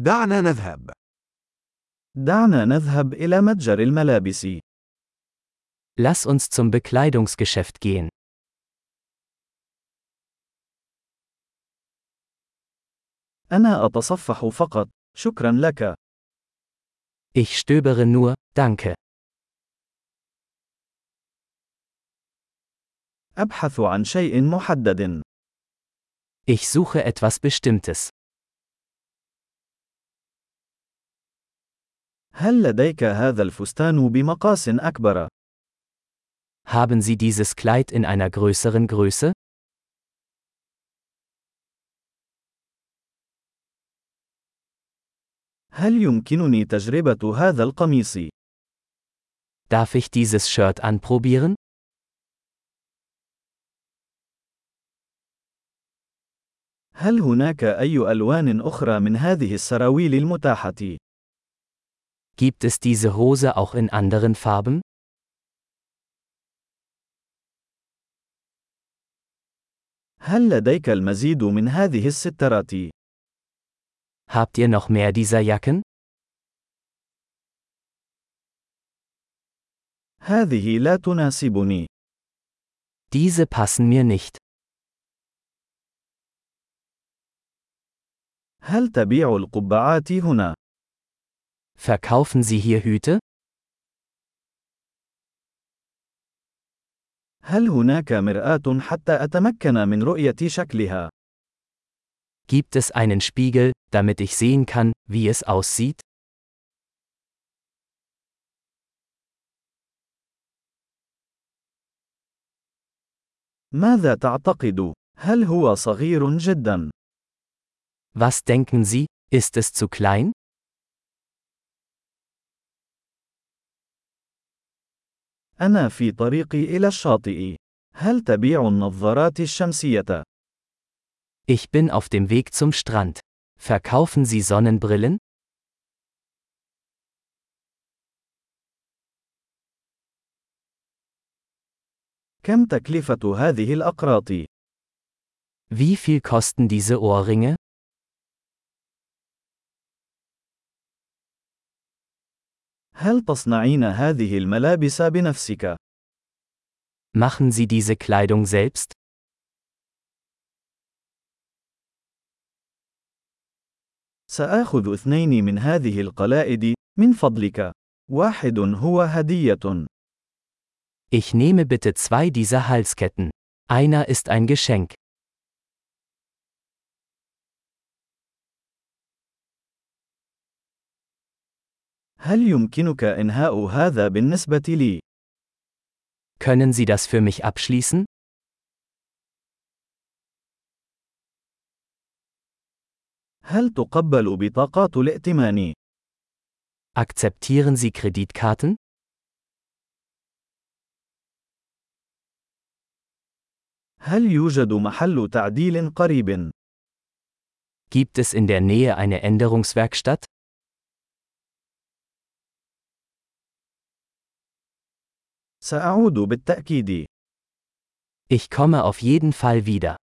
دعنا نذهب. دعنا نذهب إلى متجر الملابس. Lass uns zum Bekleidungsgeschäft gehen. أنا أتصفح فقط. شكرا لك. Ich stöbere nur, danke. أبحث عن شيء محدد. Ich suche etwas Bestimmtes. هل لديك هذا الفستان بمقاس أكبر؟ Haben Sie dieses Kleid in einer größeren Größe? هل يمكنني تجربة هذا القميص؟ Darf ich dieses Shirt anprobieren? هل هناك أي ألوان أخرى من هذه السراويل المتاحة؟ Gibt es diese Hose auch in anderen Farben? هل لديك المزيد من هذه السترات؟ Habt ihr noch mehr dieser Jacken? هذه لا تناسبني. Diese passen mir nicht. هل تبيع القبعات هنا؟ Verkaufen Sie hier Hüte? هل هناك مرآة حتى أتمكن من رؤية شكلها؟ Gibt es einen Spiegel, damit ich sehen kann, wie es aussieht? ماذا تعتقد؟ هل هو صغير جدا؟ Was denken Sie, ist es zu klein? أنا في طريقي إلى الشاطئ. هل تبيع النظارات الشمسية؟ Ich bin auf dem Weg zum Strand. Verkaufen Sie Sonnenbrillen? كم تكلفة هذه الأقراط؟ Wie viel kosten diese Ohrringe? هل تصنعين هذه الملابس بنفسك؟ Machen Sie diese Kleidung selbst? سآخذ اثنين من هذه القلائد، من فضلك. واحد هو هدية. Ich nehme bitte zwei dieser Halsketten. Einer ist ein Geschenk. هل يمكنك إنهاء هذا بالنسبة لي؟ Können Sie das für mich abschließen? هل تقبل بطاقات الائتمان؟ Akzeptieren Sie Kreditkarten? هل يوجد محل تعديل قريب؟ Gibt es in der Nähe eine Änderungswerkstatt? سأعود بالتأكيد. Ich komme auf jeden Fall wieder.